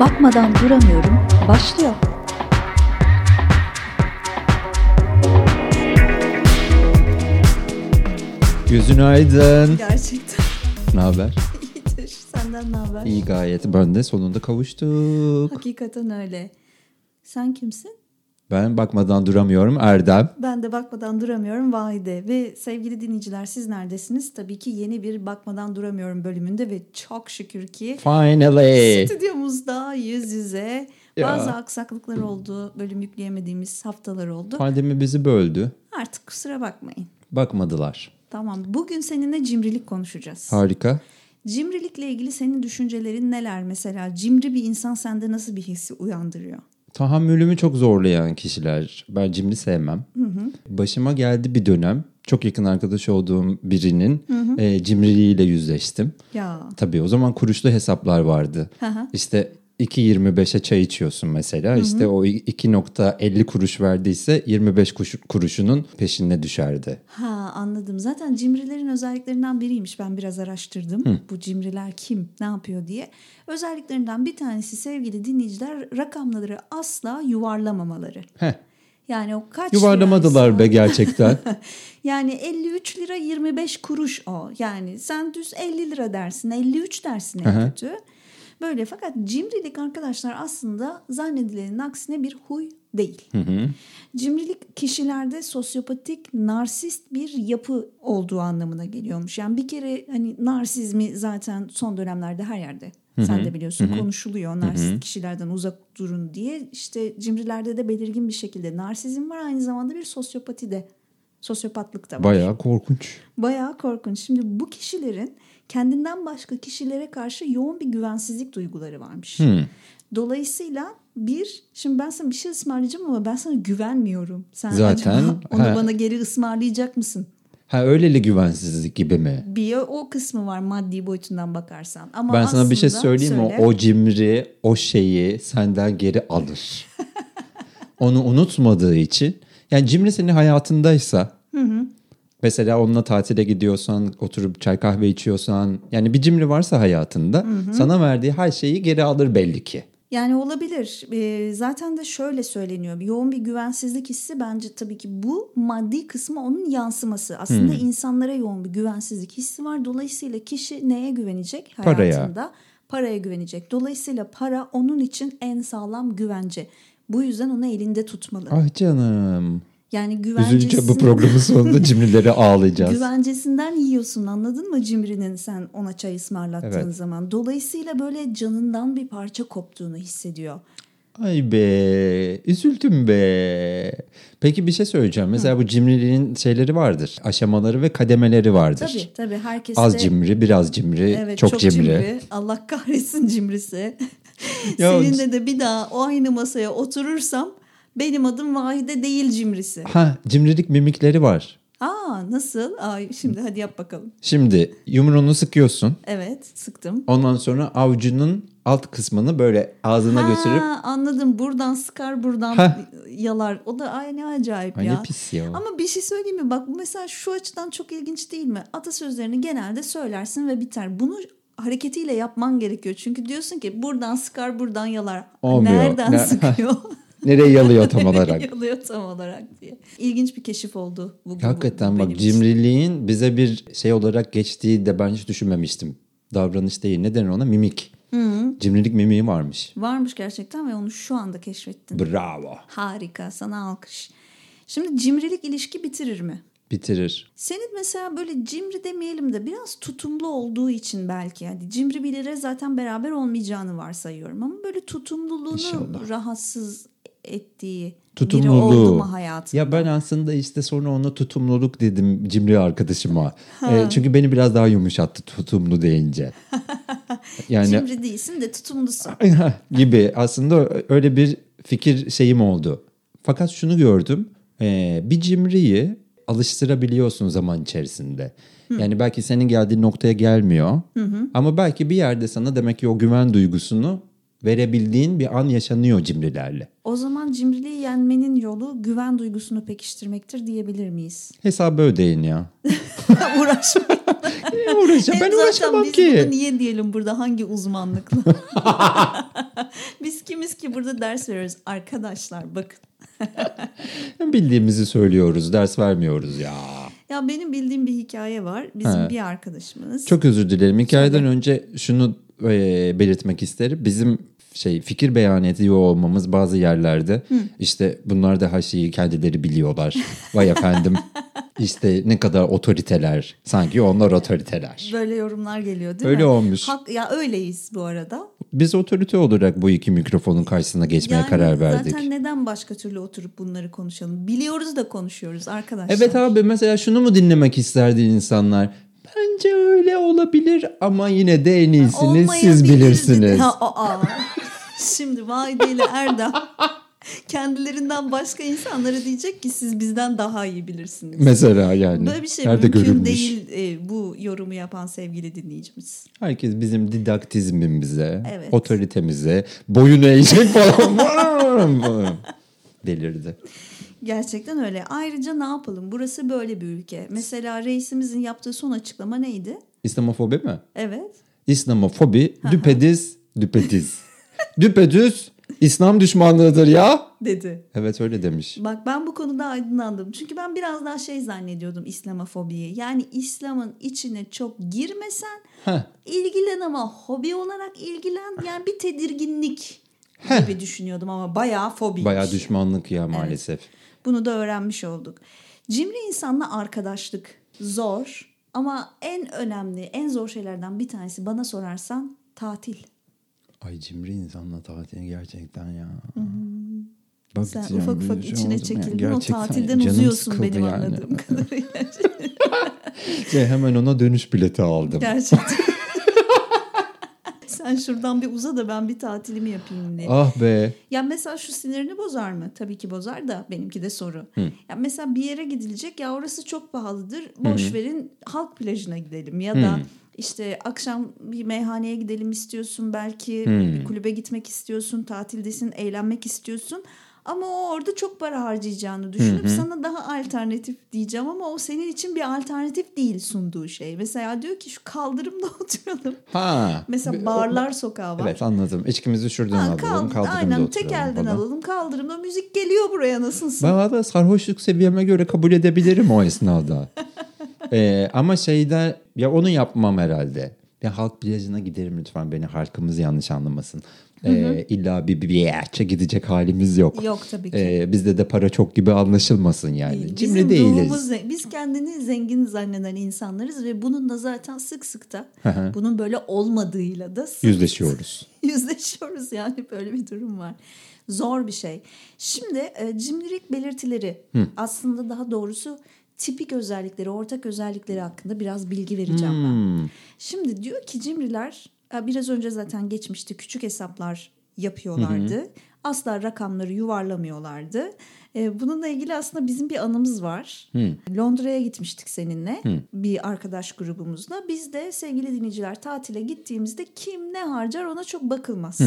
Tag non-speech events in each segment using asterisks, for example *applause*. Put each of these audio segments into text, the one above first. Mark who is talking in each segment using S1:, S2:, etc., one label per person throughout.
S1: Yapmadan duramıyorum başlıyor.
S2: Gözün aydın.
S1: Gerçekten
S2: Ne haber?
S1: iyidir. Senden ne haber?
S2: İyi gayet. Ben de sonunda kavuştuk.
S1: Hakikaten öyle. Sen kimsin?
S2: Ben bakmadan duramıyorum Erdem.
S1: Ben de bakmadan duramıyorum Vahide. Ve sevgili dinleyiciler siz neredesiniz? Tabii ki yeni bir bakmadan duramıyorum bölümünde ve çok şükür ki
S2: Finally.
S1: stüdyomuzda yüz yüze
S2: Ya.
S1: bazı aksaklıklar oldu. Bölüm yükleyemediğimiz haftalar oldu.
S2: Pandemi bizi böldü.
S1: Artık kusura bakmayın.
S2: Bakmadılar.
S1: Tamam bugün seninle cimrilik konuşacağız.
S2: Harika.
S1: Cimrilikle ilgili senin düşüncelerin neler mesela? Cimri bir insan sende nasıl bir hissi uyandırıyor?
S2: Tahammülümü çok zorlayan kişiler. Ben cimri sevmem. Başıma geldi bir dönem. Çok yakın arkadaş olduğum birinin e, cimriliğiyle yüzleştim.
S1: Ya
S2: Tabii o zaman kuruşlu hesaplar vardı.
S1: hı.
S2: işte 2.25'e çay içiyorsun mesela. İşte o 2.50 kuruş verdiyse 25 kuş- kuruşunun peşine düşerdi.
S1: ha anladım. Zaten cimrilerin özelliklerinden biriymiş. Ben biraz araştırdım. Bu cimriler kim, ne yapıyor diye. Özelliklerinden bir tanesi sevgili dinleyiciler rakamları asla yuvarlamamaları.
S2: Heh.
S1: Yani o kaç
S2: Yuvarlamadılar be
S1: liraysa- *laughs*
S2: gerçekten.
S1: Yani 53 lira 25 kuruş o. Yani sen düz 50 lira dersin, 53 dersin en
S2: Aha.
S1: kötü. Böyle fakat cimrilik arkadaşlar aslında zannedilenin aksine bir huy değil. Cimrilik kişilerde sosyopatik, narsist bir yapı olduğu anlamına geliyormuş. Yani bir kere hani narsizmi zaten son dönemlerde her yerde sen de biliyorsun konuşuluyor. Narsist kişilerden uzak durun diye. İşte cimrilerde de belirgin bir şekilde narsizm var aynı zamanda bir sosyopati de. Sosyopatlık da var.
S2: Bayağı korkunç.
S1: Bayağı korkunç. Şimdi bu kişilerin kendinden başka kişilere karşı yoğun bir güvensizlik duyguları varmış.
S2: Hmm.
S1: Dolayısıyla bir, şimdi ben sana bir şey ısmarlayacağım ama ben sana güvenmiyorum. Sen
S2: Zaten,
S1: acaba onu
S2: he.
S1: bana geri ısmarlayacak mısın?
S2: Ha öyleli güvensizlik gibi mi?
S1: Bir o kısmı var maddi boyutundan bakarsan. Ama
S2: Ben sana bir şey
S1: aslında-
S2: söyleyeyim mi?
S1: söyle.
S2: O cimri o şeyi senden geri
S1: *laughs*
S2: alır. Onu unutmadığı için. Yani cimri senin hayatındaysa. Mesela onunla tatile gidiyorsan, oturup çay kahve içiyorsan. Yani bir cimri varsa hayatında sana verdiği her şeyi geri alır belli ki.
S1: Yani olabilir. Ee, zaten de şöyle söyleniyor. Yoğun bir güvensizlik hissi bence tabii ki bu maddi kısmı onun yansıması. Aslında
S2: Hmm.
S1: insanlara yoğun bir güvensizlik hissi var. Dolayısıyla kişi neye güvenecek
S2: Paraya.
S1: hayatında? Paraya güvenecek. Dolayısıyla para onun için en sağlam güvence. Bu yüzden onu elinde tutmalı.
S2: Ah canım.
S1: Yani
S2: Üzülünce bu
S1: güvencesinden,
S2: programın
S1: *laughs*
S2: sonunda cimrilere ağlayacağız.
S1: güvencesinden yiyorsun anladın mı cimrinin sen ona çay ısmarlattığın
S2: Evet.
S1: zaman. Dolayısıyla böyle canından bir parça koptuğunu hissediyor.
S2: Ay be, üzüldüm be. Peki bir şey söyleyeceğim. Mesela bu cimriliğin şeyleri vardır. Aşamaları ve kademeleri vardır.
S1: Tabii tabii herkes
S2: Az
S1: de-
S2: cimri, biraz cimri,
S1: Evet
S2: çok, cimri.
S1: Allah kahretsin cimrisi.
S2: *laughs* Ya-
S1: Seninle de bir daha o aynı masaya oturursam benim adım Vahide değil cimrisi.
S2: Ha, cimrilik mimikleri var.
S1: Aa nasıl? Ay şimdi hadi yap bakalım.
S2: Şimdi yumruğunu sıkıyorsun.
S1: Evet sıktım.
S2: Ondan sonra avcunun alt kısmını böyle ağzına götürüp
S1: Ha, anladım buradan sıkar buradan
S2: Ha.
S1: yalar. O da ay ne acayip
S2: Ay, ne
S1: ya.
S2: pis ya.
S1: Ama bir şey söyleyeyim mi? Bak bu mesela şu açıdan çok ilginç değil mi? Atasözlerini genelde söylersin ve biter. Bunu hareketiyle yapman gerekiyor. Çünü diyorsun ki buradan sıkar buradan yalar.
S2: Olmuyor.
S1: Nereden
S2: Ne-
S1: sıkıyor?
S2: *laughs* nereye
S1: *laughs*
S2: yalıyor tam olarak.
S1: Yalıyor tam olarak diye. İlginç bir keşif oldu bugün. bu- bu
S2: Hakikaten
S1: benim
S2: bak
S1: için.
S2: cimriliğin bize bir şey olarak geçtiği de ben hiç düşünmemiştim. Davranış değil. Ne denir ona? Mimik. Cimrilik mimiği varmış.
S1: Varmış gerçekten ve onu şu anda keşfettin.
S2: Bravo.
S1: Harika sana alkış. Şimdi cimrilik ilişki bitirir mi?
S2: Bitirir.
S1: Senin mesela böyle cimri demeyelim de biraz tutumlu olduğu için belki yani cimri biriyle zaten beraber olmayacağını varsayıyorum ama böyle tutumluluğunu
S2: İnşallah.
S1: rahatsız ettiği
S2: Tutumluluğu.
S1: biri oldu mu hayatında?
S2: Ya ben aslında işte sonra ona tutumluluk dedim cimri arkadaşıma. E, çünkü beni biraz daha yumuşattı tutumlu
S1: *laughs*
S2: deyince. Yani
S1: Cimri değilsin de tutumlusun.
S2: *laughs* gibi aslında öyle bir fikir şeyim oldu. Fakat şunu gördüm. e, bir cimriyi alıştırabiliyorsun zaman içerisinde. Yani belki senin geldiğin noktaya gelmiyor. Ama belki bir yerde sana demek ki o güven duygusunu verebildiğin bir an yaşanıyor cimrilerle.
S1: O zaman cimriliği yenmenin yolu güven duygusunu pekiştirmektir diyebilir miyiz?
S2: Hesabı ödeyin ya.
S1: Uğraşma.
S2: Ne uğraşacağım?
S1: Hem
S2: Ben
S1: zaten
S2: uğraşamam
S1: biz
S2: ki. *laughs*
S1: bunu niye diyelim burada hangi uzmanlıkla? Biz kimiz ki burada ders veriyoruz arkadaşlar bakın.
S2: Bildiğimizi söylüyoruz, ders vermiyoruz ya.
S1: Ya benim bildiğim bir hikaye var. Bizim
S2: Ha.
S1: bir arkadaşımız.
S2: Çok özür dilerim. Hikayeden önce şunu e, belirtmek isterim. Bizim şey fikir beyan ediyor olmamız bazı yerlerde işte bunlar da her şeyi kendileri biliyorlar. Vay
S1: *laughs*
S2: efendim işte ne kadar otoriteler sanki onlar otoriteler.
S1: Böyle yorumlar geliyor değil
S2: Öyle
S1: mi?
S2: olmuş.
S1: Hak, ya öyleyiz bu arada.
S2: Biz otorite olarak bu iki mikrofonun karşısına geçmeye
S1: Yani
S2: karar verdik.
S1: Zaten neden başka türlü oturup bunları konuşalım? Biliyoruz da konuşuyoruz arkadaşlar.
S2: Evet abi mesela şunu mu dinlemek isterdi insanlar? Bence öyle olabilir ama yine de en iyisini siz
S1: Olmayabilir dedi.
S2: bilirsiniz.
S1: Ha, aa. Şimdi vay deli Erdem. Kendilerinden başka insanlara diyecek ki siz bizden daha iyi bilirsiniz.
S2: Mesela yani.
S1: Böyle bir şey
S2: Nerede
S1: mümkün
S2: görülmüş?
S1: değil e, bu yorumu yapan sevgili dinleyicimiz.
S2: Herkes bizim didaktizmimize,
S1: Evet.
S2: otoritemize boyun eğecek falan. *laughs* Vırr, vırr. Delirdi.
S1: Gerçekten öyle. Ayrıca ne yapalım? Burası böyle bir ülke. Mesela reisimizin yaptığı son açıklama neydi?
S2: İslamofobi mi?
S1: Evet.
S2: İslamofobi düpedüz, düpedüz. düpedüz İslam düşmanlığıdır ya.
S1: Dedi.
S2: Evet öyle demiş.
S1: Bak ben bu konuda aydınlandım. Çünkü ben biraz daha şey zannediyordum İslamofobiyi. Yani İslam'ın içine çok girmesen
S2: Heh.
S1: ilgilen ama hobi olarak ilgilen. Yani bir tedirginlik
S2: Heh.
S1: gibi düşünüyordum ama bayağı fobi.
S2: Bayağı düşmanlık ya maalesef.
S1: Bunu da öğrenmiş olduk. Cimri insanla arkadaşlık zor ama en önemli, en zor şeylerden bir tanesi bana sorarsan tatil.
S2: Ay cimri insanla tatil gerçekten ya. Bak,
S1: Sen
S2: yani
S1: ufak
S2: bir
S1: ufak
S2: şey oldu
S1: içine
S2: mu ya?
S1: çekildin o
S2: Gerçekten
S1: tatilden
S2: canım
S1: uzuyorsun
S2: sıkıldı
S1: benim
S2: yani. *laughs*
S1: anladığım kadarıyla.
S2: Şey, hemen ona dönüş bileti aldım.
S1: Gerçekten. *laughs* Sen şuradan bir uza da ben bir
S2: *laughs*
S1: tatilimi yapayım diye.
S2: Ah be.
S1: Ya mesela şu sinirini bozar mı? Tabii ki bozar da benimki de soru. Ya mesela bir yere gidilecek ya orası çok pahalıdır. Boş verin halk plajına gidelim ya da işte akşam bir meyhaneye gidelim istiyorsun belki bir kulübe gitmek istiyorsun, tatildesin, eğlenmek istiyorsun. Ama o orada çok para harcayacağını düşünüp sana daha alternatif diyeceğim ama o senin için bir alternatif değil sunduğu şey. Mesela diyor ki şu kaldırımda *laughs* oturalım.
S2: Ha.
S1: Mesela
S2: Bir-
S1: barlar sokağı var.
S2: Evet anladım. İçkimizi şuradan
S1: Ha,
S2: alalım.
S1: kaldı-
S2: Kaldırımda
S1: aynen
S2: oturalım
S1: tek elden
S2: falan.
S1: alalım kaldırımda müzik geliyor buraya nasılsın?
S2: Ben valla sarhoşluk seviyeme göre kabul edebilirim o
S1: *laughs*
S2: esnada. Ee, ama şeyde ya onu yapmam herhalde. Ya halk plajına giderim lütfen beni halkımız yanlış anlamasın. Ee, illa bir bir yerçe gidecek halimiz yok.
S1: Yok tabii ki.
S2: Ee, bizde de para çok gibi anlaşılmasın yani.
S1: Bizim
S2: Cimri değiliz.
S1: ruhumuz ze- biz kendini zengin zanneden insanlarız ve bunun da zaten sık sık da
S2: hı.
S1: bunun böyle olmadığıyla da sık
S2: Yüzleşiyoruz.
S1: *laughs* yüzleşiyoruz yani böyle bir durum var. Zor bir şey. Şimdi e, cimrilik belirtileri aslında daha doğrusu tipik özellikleri, ortak özellikleri hakkında biraz bilgi vereceğim
S2: Hmm.
S1: ben. Şimdi diyor ki cimriler e, biraz önce zaten geçmişti küçük hesaplar yapıyorlardı. Asla rakamları yuvarlamıyorlardı. E, bununla ilgili aslında bizim bir anımız var. Londra'ya gitmiştik seninle bir arkadaş grubumuzla. Biz de sevgili dinleyiciler tatile gittiğimizde kim ne harcar ona çok bakılmaz.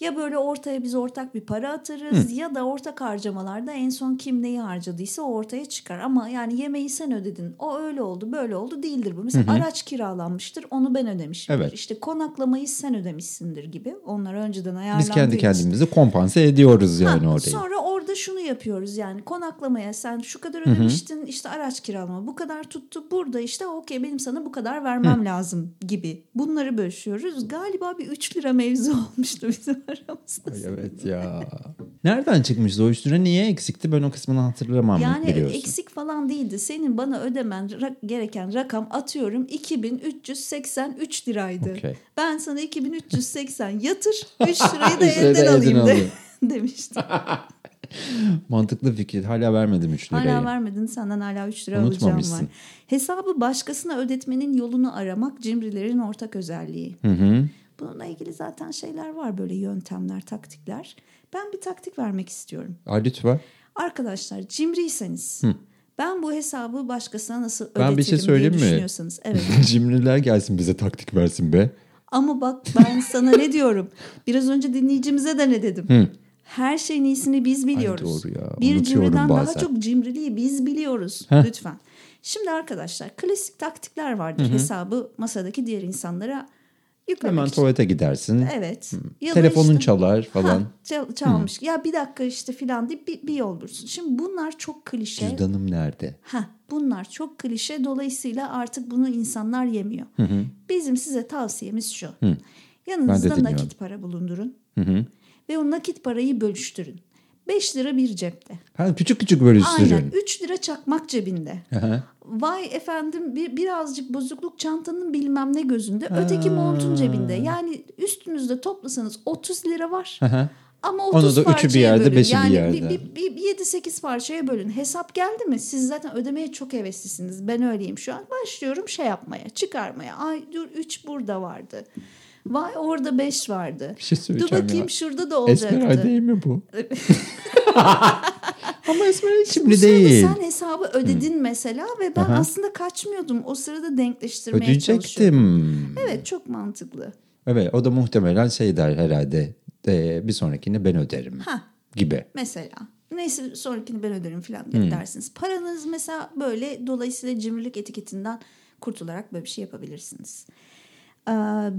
S1: Ya böyle ortaya biz ortak bir para atarız ya da ortak harcamalarda en son kim neyi harcadıysa o ortaya çıkar. Ama yani yemeği sen ödedin o öyle oldu böyle oldu değildir bu. Mesela araç kiralanmıştır onu ben ödemişimdir.
S2: Evet.
S1: İşte konaklamayı sen ödemişsindir gibi onlar önceden ayarlandığı
S2: Biz kendi
S1: için.
S2: kendimizi kompanse ediyoruz
S1: Ha,
S2: yani orayı.
S1: Sonra orada şunu yapıyoruz yani konaklamaya sen şu kadar ödemiştin işte araç kiralama bu kadar tuttu burada işte okey benim sana bu kadar vermem lazım gibi bunları bölüşüyoruz. Galiba bir 3 lira mevzu *laughs* olmuştu bizim aramızda.
S2: Ay evet ya. Nereden çıkmıştı o üstüne niye eksikti ben o kısmını hatırlamam
S1: Yani
S2: biliyorsun.
S1: eksik falan değildi. Senin bana ödemen ra- gereken rakam atıyorum 2383 liraydı.
S2: Okey.
S1: Ben sana 2380 yatır
S2: *laughs*
S1: 3 lirayı da
S2: Üç lirayı da
S1: elden
S2: elden
S1: alayım de,
S2: alayım.
S1: *laughs* demiştim.
S2: Mantıklı fikir hala vermedim 3 lirayı.
S1: Hala vermedin senden hala 3 lira alacağım var.
S2: Unutmamışsın.
S1: Hesabı başkasına ödetmenin yolunu aramak cimrilerin ortak özelliği. Bununla ilgili zaten şeyler var böyle yöntemler, taktikler. Ben bir taktik vermek istiyorum.
S2: Aa, lütfen.
S1: Arkadaşlar cimriyseniz ben bu hesabı başkasına nasıl ödetirim
S2: Ben bir şey
S1: diye
S2: söyleyeyim mi?
S1: düşünüyorsanız. Evet.
S2: *laughs* Cimriler gelsin bize taktik versin be.
S1: Ama bak ben sana ne diyorum? Biraz önce dinleyicimize de ne dedim? Her şeyin iyisini biz biliyoruz.
S2: doğru ya,
S1: Bir
S2: unutuyorum
S1: cimriden daha
S2: bazen.
S1: çok cimriliği biz biliyoruz. Lütfen. Şimdi arkadaşlar klasik taktikler vardır. Hesabı masadaki diğer insanlara Yüklemek
S2: Hemen
S1: için.
S2: tuvalete gidersin.
S1: Evet. Ya da
S2: Telefonun
S1: işte-
S2: çalar falan.
S1: Ha, çal- çalmış. Ya bir dakika işte filan deyip bir, bir yol bulursun. Şimdi bunlar çok klişe.
S2: Cüzdanım nerede?
S1: Ha, bunlar çok klişe. Dolayısıyla artık bunu insanlar yemiyor. Bizim size tavsiyemiz şu. Yanınızda
S2: dinliyorum.
S1: nakit para bulundurun.
S2: Hı hı.
S1: Ve o nakit parayı bölüştürün. 5 lira bir cepte.
S2: Ha, küçük küçük bölüştürün.
S1: Aynen 3 lira çakmak cebinde.
S2: Aha.
S1: Vay efendim bir, birazcık bozukluk çantanın bilmem ne gözünde. Öteki montun cebinde. Yani üstünüzde toplasanız 30 lira var.
S2: Aha.
S1: Ama
S2: Onu
S1: 30
S2: da üçü bir
S1: parçaya
S2: yerde,
S1: bölün.
S2: beşi bir
S1: yani
S2: yerde.
S1: Bir, bir, 7-8 parçaya bölün. Hesap geldi mi? Siz zaten ödemeye çok heveslisiniz. Ben öyleyim şu an. Başlıyorum şey yapmaya, çıkarmaya. Ay dur 3 burada vardı. Vay orada 5 vardı.
S2: Bir şey
S1: Dur
S2: söyleyeceğim
S1: bakayım
S2: ya.
S1: şurada da olacaktı.
S2: Esmer değil mi
S1: *laughs*
S2: bu? Ama Esmer
S1: Bu
S2: şimdi
S1: sırada
S2: değil.
S1: Sen hesabı ödedin mesela ve ben
S2: Aha.
S1: aslında kaçmıyordum. O sırada denkleştirmeye çalışıyordum.
S2: Ödeyecektim.
S1: Evet çok mantıklı.
S2: Evet o da muhtemelen şey der herhalde e, bir sonrakini ben öderim
S1: Hah.
S2: gibi.
S1: Mesela. Neyse sonrakini ben öderim falan
S2: Hmm.
S1: gibi dersiniz. Paranız mesela böyle dolayısıyla cimrilik etiketinden kurtularak böyle bir şey yapabilirsiniz. Ee,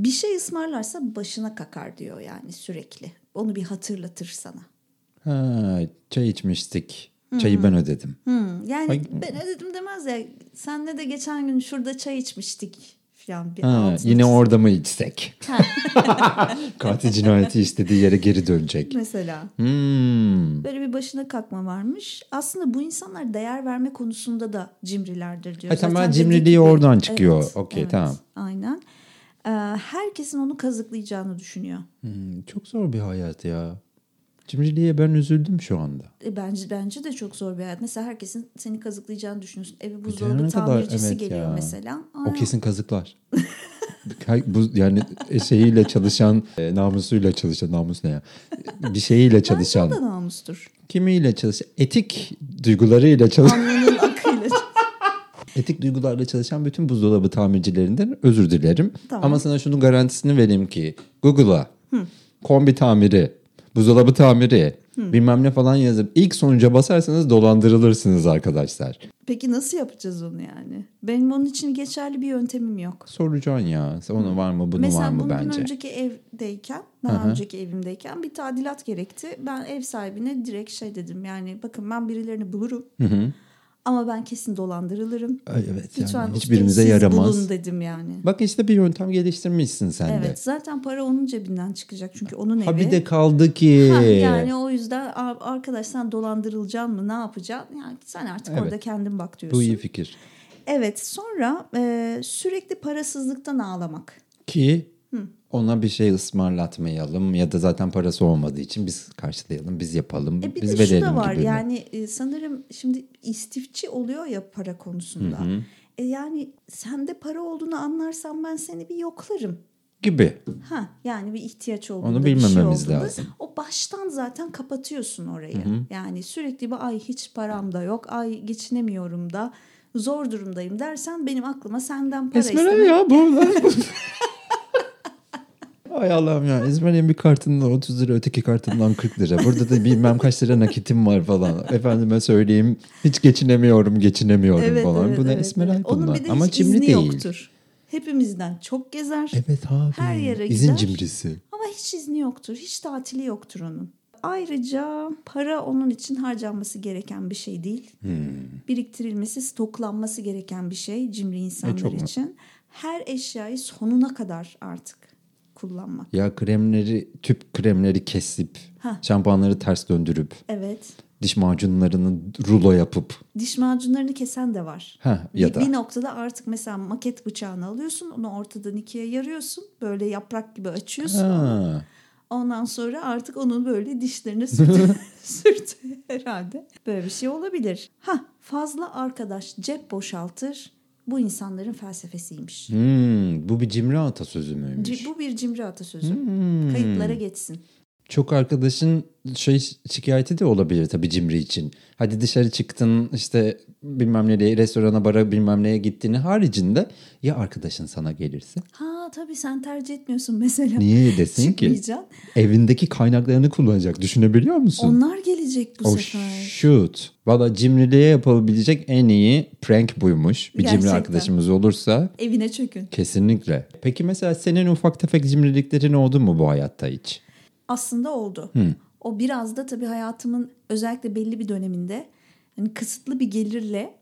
S1: bir şey ısmarlarsa başına kakar diyor yani sürekli. Onu bir hatırlatır sana.
S2: Ha, çay içmiştik. Çayı ben ödedim.
S1: Hmm, yani
S2: Ay-
S1: ben ödedim demez ya. Senle de geçen gün şurada çay içmiştik falan. Bir
S2: Ha,
S1: altını
S2: yine
S1: çiz-
S2: orada mı içsek? *laughs* Katil cinayeti istediği yere geri dönecek.
S1: Mesela.
S2: Hmm.
S1: Böyle bir başına kakma varmış. Aslında bu insanlar değer verme konusunda da cimrilerdir diyor.
S2: Ha, tamam,
S1: Zaten
S2: cimriliği
S1: dedik ki-
S2: oradan çıkıyor. Okey, tamam.
S1: Aynen. Ee, herkesin onu kazıklayacağını düşünüyor.
S2: Hmm, Çok zor bir hayat ya. Cimriliğe ben üzüldüm şu anda.
S1: E, bence bence de çok zor bir hayat. Mesela herkesin seni kazıklayacağını düşünüyorsun. Eve
S2: ne
S1: buzdolabı
S2: kadar-
S1: tamircisi
S2: evet
S1: geliyor
S2: ya.
S1: mesela.
S2: O
S1: Aa,
S2: kesin kazıklar. Kay- bu yani şeyiyle çalışan, e, namusuyla çalışan, namus ne ya? Bir şeyiyle
S1: bence o
S2: çalışan,
S1: da namustur.
S2: kimiyle çalışan, etik duygularıyla çalışan,
S1: Alnının akıyla. *laughs*
S2: etik duygularla çalışan bütün buzdolabı tamircilerinden özür dilerim.
S1: Tamam.
S2: Ama sana şunun garantisini vereyim ki Google'a kombi tamiri, buzdolabı tamiri, bilmem ne falan yazıp ilk sonuca basarsanız dolandırılırsınız arkadaşlar.
S1: Peki nasıl yapacağız onu yani? Benim onun için geçerli bir yöntemim yok.
S2: Soracaksın ya, onu var mı, bunu var
S1: Mesela
S2: mı
S1: bundan
S2: bence?
S1: önceki evdeyken, daha önceki evimdeyken bir tadilat gerekti. Ben ev sahibine direkt şey dedim yani bakın ben birilerini bulurum. Ama ben kesin dolandırılırım.
S2: Ay, Evet,
S1: Lütfen
S2: yani
S1: ustayı
S2: hiçbirimize
S1: siz
S2: yaramaz.
S1: bulun dedim yani.
S2: Bak işte bir yöntem geliştirmişsin sen de.
S1: Evet zaten para onun cebinden çıkacak çünkü onun
S2: Ha
S1: evi.
S2: bir de kaldı ki.
S1: Ha, yani o yüzden "Aa, arkadaş sen dolandırılacaksın mı ne yapacaksın? Yani sen artık
S2: Evet.
S1: orada kendin bak diyorsun.
S2: Bu iyi fikir.
S1: Evet sonra e, sürekli parasızlıktan ağlamak.
S2: Ki ona bir şey ısmarlatmayalım ya da zaten parası olmadığı için biz karşılayalım, biz yapalım,
S1: E bir
S2: biz
S1: de
S2: verelim
S1: şu da var
S2: gibi.
S1: yani e, sanırım şimdi istifçi oluyor ya para konusunda. E yani sende para olduğunu anlarsam ben seni bir yoklarım.
S2: Gibi.
S1: Ha yani bir ihtiyaç olduğunda
S2: Onu
S1: bir şey
S2: bilmememiz
S1: olduğunda
S2: lazım.
S1: o baştan zaten kapatıyorsun orayı. Yani sürekli bir ay hiç param da yok, ay geçinemiyorum da zor durumdayım dersen benim aklıma senden para
S2: Esmer
S1: istemek.
S2: ya bu. *laughs* Ay Allah'ım ya Esmer'in bir kartından 30 lira öteki kartından 40 lira. Burada da bilmem kaç lira nakitim var falan. Efendime söyleyeyim hiç geçinemiyorum geçinemiyorum falan. bu ne
S1: evet,
S2: Esmer
S1: evet.
S2: ay
S1: Onun
S2: bunlar.
S1: bir de
S2: Ama
S1: hiç
S2: cimri
S1: izni
S2: değil.
S1: yoktur. Hepimizden çok gezer.
S2: Evet abi.
S1: Her yere
S2: İzin
S1: gider.
S2: cimrisi.
S1: Ama hiç izni yoktur, hiç tatili yoktur onun. Ayrıca para onun için harcanması gereken bir şey değil.
S2: Hmm.
S1: Biriktirilmesi, stoklanması gereken bir şey cimri insanlar
S2: E, çok mu-
S1: için. Her eşyayı sonuna kadar artık kullanmak.
S2: Ya kremleri, tüp kremleri kesip,
S1: Hah.
S2: şampuanları ters döndürüp,
S1: Evet.
S2: diş macunlarını rulo yapıp.
S1: Diş macunlarını kesen de var.
S2: Ha, ya
S1: bir,
S2: da.
S1: bir noktada artık mesela maket bıçağını alıyorsun, onu ortadan ikiye yarıyorsun, böyle yaprak gibi açıyorsun.
S2: Ha.
S1: Ondan sonra artık onun böyle dişlerine sürtü,
S2: *laughs*
S1: sürtü herhalde. Böyle bir şey olabilir. Ha fazla arkadaş cep boşaltır. Bu insanların felsefesiymiş.
S2: Hmm, bu bir cimri atasözü müymüş?
S1: C- Bu bir cimri atasözü.
S2: Hmm.
S1: Kayıtlara geçsin.
S2: Çok arkadaşın şey şikayeti de olabilir tabii cimri için. Hadi dışarı çıktın işte bilmem nereye restorana bara bilmem neye gittiğini haricinde ya arkadaşın sana gelirse?
S1: Ha Aa tabii sen tercih etmiyorsun mesela. *laughs*
S2: Niye desin ki?
S1: Çıkmayacaksın.
S2: Evindeki kaynaklarını kullanacak. Düşünebiliyor musun?
S1: Onlar gelecek bu
S2: Oh
S1: sefer.
S2: shoot. Valla Cimriliğe yapabilecek en iyi prank buymuş. Bir Cimri
S1: Gerçekten.
S2: arkadaşımız olursa
S1: Evine çökün.
S2: kesinlikle. Peki mesela senin ufak tefek cimriliklerin oldu mu bu hayatta hiç?
S1: Aslında oldu. O biraz da tabii hayatımın özellikle belli bir döneminde hani kısıtlı bir gelirle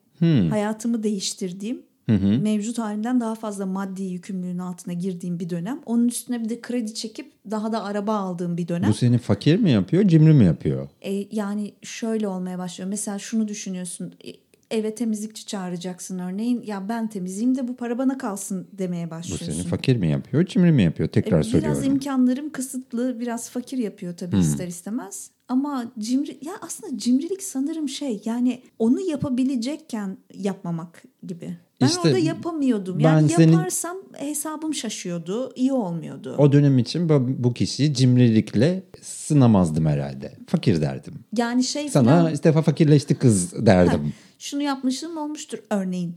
S1: hayatımı değiştirdiğim mevcut halimden daha fazla maddi yükümlülüğün altına girdiğim bir dönem. Onun üstüne bir de kredi çekip daha da araba aldığım bir dönem.
S2: Bu seni fakir mi yapıyor, cimri mi yapıyor?
S1: E, yani şöyle olmaya başlıyor. Mesela şunu düşünüyorsun. e, Eve temizlikçi çağıracaksın örneğin. Ya ben temizleyeyim de bu para bana kalsın demeye
S2: Bu
S1: başlıyorsun.
S2: seni fakir mi yapıyor, cimri mi yapıyor?
S1: E,
S2: Tekrar
S1: biraz
S2: soruyorum.
S1: imkanlarım kısıtlı, biraz fakir yapıyor tabii ister istemez. Ama cimri ya aslında cimrilik sanırım şey yani onu yapabilecekken yapmamak gibi. Ben
S2: İşte
S1: orada yapamıyordum.
S2: ben
S1: Yani
S2: senin-
S1: yaparsam hesabım şaşıyordu, iyi olmuyordu.
S2: O dönem için bu, bu kişiyi cimrilikle sınamazdım herhalde. Fakir derdim.
S1: Yani şey falan-
S2: Sana işte fakirleşti kız
S1: *laughs*
S2: derdim.
S1: şunu yapmışlığım olmuştur örneğin.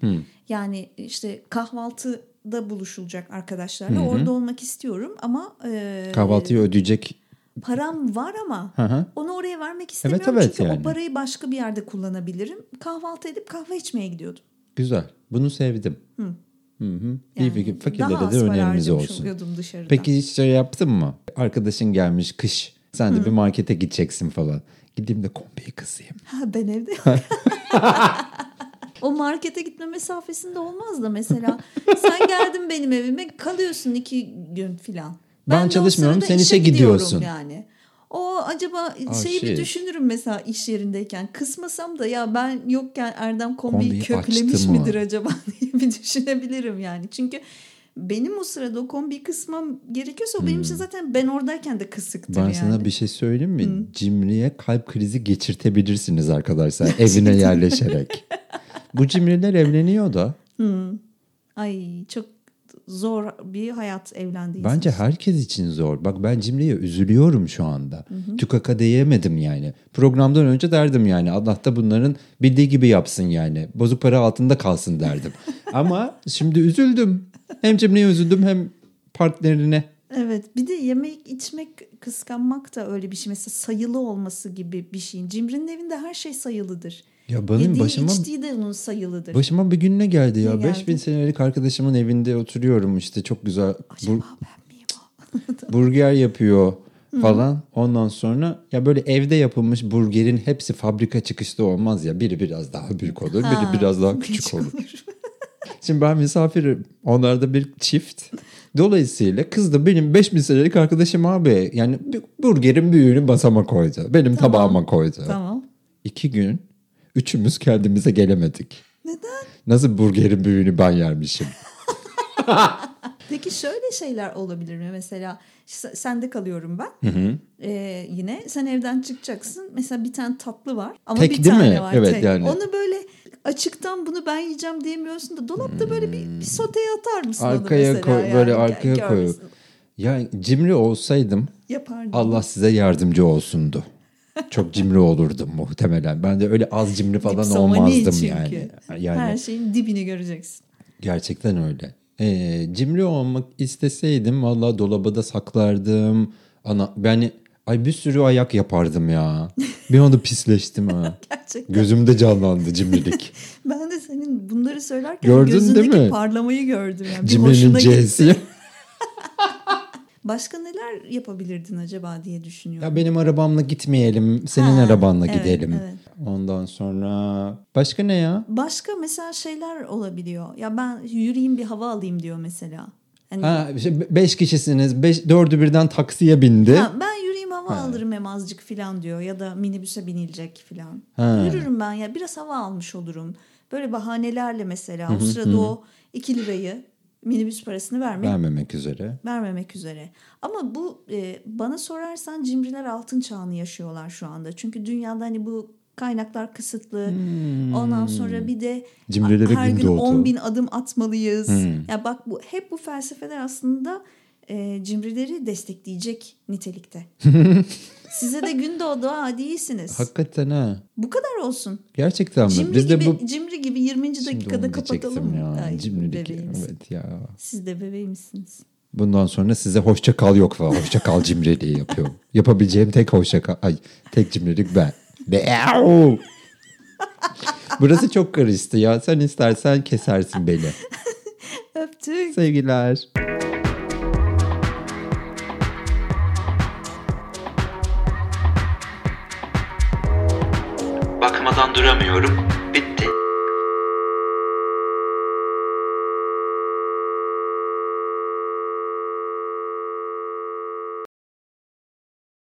S1: Yani işte kahvaltıda buluşulacak arkadaşlarla orada olmak istiyorum ama e,
S2: Kahvaltıyı ödeyecek.
S1: param var ama
S2: hı.
S1: onu oraya vermek istemiyorum
S2: evet
S1: çünkü
S2: yani.
S1: o parayı başka bir yerde kullanabilirim. Kahvaltı edip kahve içmeye gidiyordum.
S2: Güzel. Bunu sevdim. Hı hı. İyi fikir.
S1: daha
S2: Fakirlere
S1: az
S2: de
S1: para
S2: önerimiz
S1: harcamış
S2: olsun.
S1: oluyordum dışarıdan.
S2: Peki hiç şey yaptın mı? Arkadaşın gelmiş kış. Sen de bir markete gideceksin falan. Gideyim de kombiyi kısayım.
S1: Ha,
S2: *laughs*
S1: ben evde *laughs* O markete gitme mesafesinde olmaz da mesela sen geldin benim evime kalıyorsun iki gün filan.
S2: Ben
S1: de o
S2: çalışmıyorum,
S1: sırada
S2: sen işe
S1: gidiyorum
S2: gidiyorsun.
S1: Yani. O acaba
S2: Ah,
S1: şeyi
S2: shit.
S1: bir düşünürüm mesela iş yerindeyken. Kısmasam da ya ben yokken Erdem kombiyi,
S2: Kombiyi
S1: köklemiş
S2: açtı mı?
S1: midir acaba *laughs* diye bir düşünebilirim yani. Çünkü benim o sırada o kombiyi kısmam gerekiyorsa o benim için zaten ben oradayken de kısıktır
S2: Hmm. Ben
S1: yani.
S2: sana bir şey söyleyeyim mi? Cimriye kalp krizi geçirtebilirsiniz arkadaşlar evine yerleşerek. Bu cimriler evleniyor da
S1: Ay çok zor bir hayat evlendiği
S2: bence herkes için zor. Bak ben cimriye üzülüyorum şu anda. Tükaka diyemedim yani. Programdan önce derdim yani Allah da bunların bildiği gibi yapsın yani. Bozuk para altında kalsın derdim. Ama şimdi üzüldüm. Hem cimriye üzüldüm hem partnerine.
S1: Evet bir de yemek içmek kıskanmak da öyle bir şey. Mesela sayılı olması gibi bir şeyin. Cimri'nin evinde her şey sayılıdır.
S2: Ya benim
S1: Yediği
S2: başıma
S1: içtiği de onun sayılıdır.
S2: Başıma bir gün ne geldi ya?
S1: Ne geldi?
S2: 5000 senelik arkadaşımın evinde oturuyorum işte çok güzel bur-
S1: Aa, ben miyim o?
S2: burger yapıyor falan. Ondan sonra ya böyle evde yapılmış burgerin hepsi fabrika çıkışta olmaz ya. Biri biraz daha büyük olur,
S1: Ha,
S2: biri biraz daha küçük olur. Şimdi ben misafirim. Onlar da bir çift. Dolayısıyla kız da benim 5000 senelik arkadaşım abi. Yani bir- burgerin büyüğünü masama koydu. Benim tabağıma koydu.
S1: Tamam.
S2: İki gün üçümüz kendimize gelemedik. Neden? Nasıl burgerin büyüğünü ben yermişim?
S1: *laughs* Peki şöyle şeyler olabilir mi? Mesela s- sende kalıyorum ben. Ee, yine sen evden çıkacaksın. Mesela bir tane tatlı var. Ama
S2: Tek
S1: bir
S2: değil mi?
S1: tane var.
S2: Evet,
S1: tek.
S2: yani.
S1: Onu böyle açıktan bunu ben yiyeceğim diyemiyorsun da dolapta böyle bir, bir soteye atar mısın onu
S2: arkaya
S1: mesela?
S2: koy,
S1: yani?
S2: böyle
S1: Gel-
S2: arkaya
S1: gör
S2: koyup.
S1: müsün?
S2: Ya cimri olsaydım
S1: Yapardın.
S2: Allah size yardımcı olsundu. Çok cimri olurdum muhtemelen. Ben de öyle az cimri falan
S1: Dipsomani
S2: olmazdım
S1: çünkü.
S2: yani. Yani
S1: Her şey- şeyin dibini göreceksin. *laughs*
S2: gerçekten öyle. Ee, cimri olmak isteseydim vallahi dolabada saklardım. Ana ben ay bir sürü ayak yapardım ya. Bir anda pisleştim
S1: *laughs*
S2: ha.
S1: Gerçekten.
S2: Gözümde canlandı cimrilik.
S1: Ben de senin bunları söylerken
S2: Gördün değil
S1: gözündeki
S2: mi?
S1: parlamayı gördüm. Yani. Bir
S2: Cimrinin
S1: hoşuna gitti.
S2: C'si.
S1: Başka neler yapabilirdin acaba diye düşünüyorum.
S2: Ya benim arabamla gitmeyelim, senin
S1: Ha,
S2: arabanla
S1: evet,
S2: gidelim.
S1: evet.
S2: Ondan sonra başka ne ya?
S1: Başka mesela şeyler olabiliyor. Ya ben yürüyeyim bir hava alayım diyor mesela. Hani,
S2: Ha, işte be- beş kişisiniz, beş, dördü birden taksiye bindi.
S1: "Ha, ben yürüyeyim hava alırım hem azıcık filan diyor. Ya da minibüse binilecek filan.
S2: Ha.
S1: Yürürüm ben ya biraz hava almış olurum. Böyle bahanelerle mesela o sırada o 2 lirayı minibüs parasını vermek
S2: Vermemek üzere.
S1: vermemek üzere. Ama bu e, bana sorarsan cimriler altın çağını yaşıyorlar şu anda. Çünkü dünyada hani bu kaynaklar kısıtlı.
S2: Hmm.
S1: Ondan sonra bir de
S2: Cimrilere
S1: her
S2: gün
S1: gün
S2: doğdu.
S1: 10 bin adım atmalıyız.
S2: Hmm.
S1: Ya bak bu hep bu felsefeler aslında e, cimrileri destekleyecek
S2: *laughs*
S1: nitelikte. Size de gün doğdu ha değilsiniz.
S2: Hakikaten ha.
S1: bu kadar olsun.
S2: Gerçekten mi?
S1: Cimri,
S2: Biz de
S1: gibi,
S2: bu...
S1: cimri gibi 20.
S2: Şimdi
S1: dakikada
S2: onu diyecektim
S1: kapatalım.
S2: ya.
S1: Ay,
S2: Cimrilik.
S1: bebeğimiz.
S2: Evet ya.
S1: Siz de bebeğimsiniz.
S2: Bundan sonra size hoşça kal yok falan. Hoşça kal cimriliği yapıyorum. Yapabileceğim tek hoşça kal. Ay tek cimrilik ben. Beau! Burası çok karıştı ya. Sen istersen kesersin beni.
S1: Öptük.
S2: Sevgiler.
S3: Bakmadan duramıyorum. Bitti.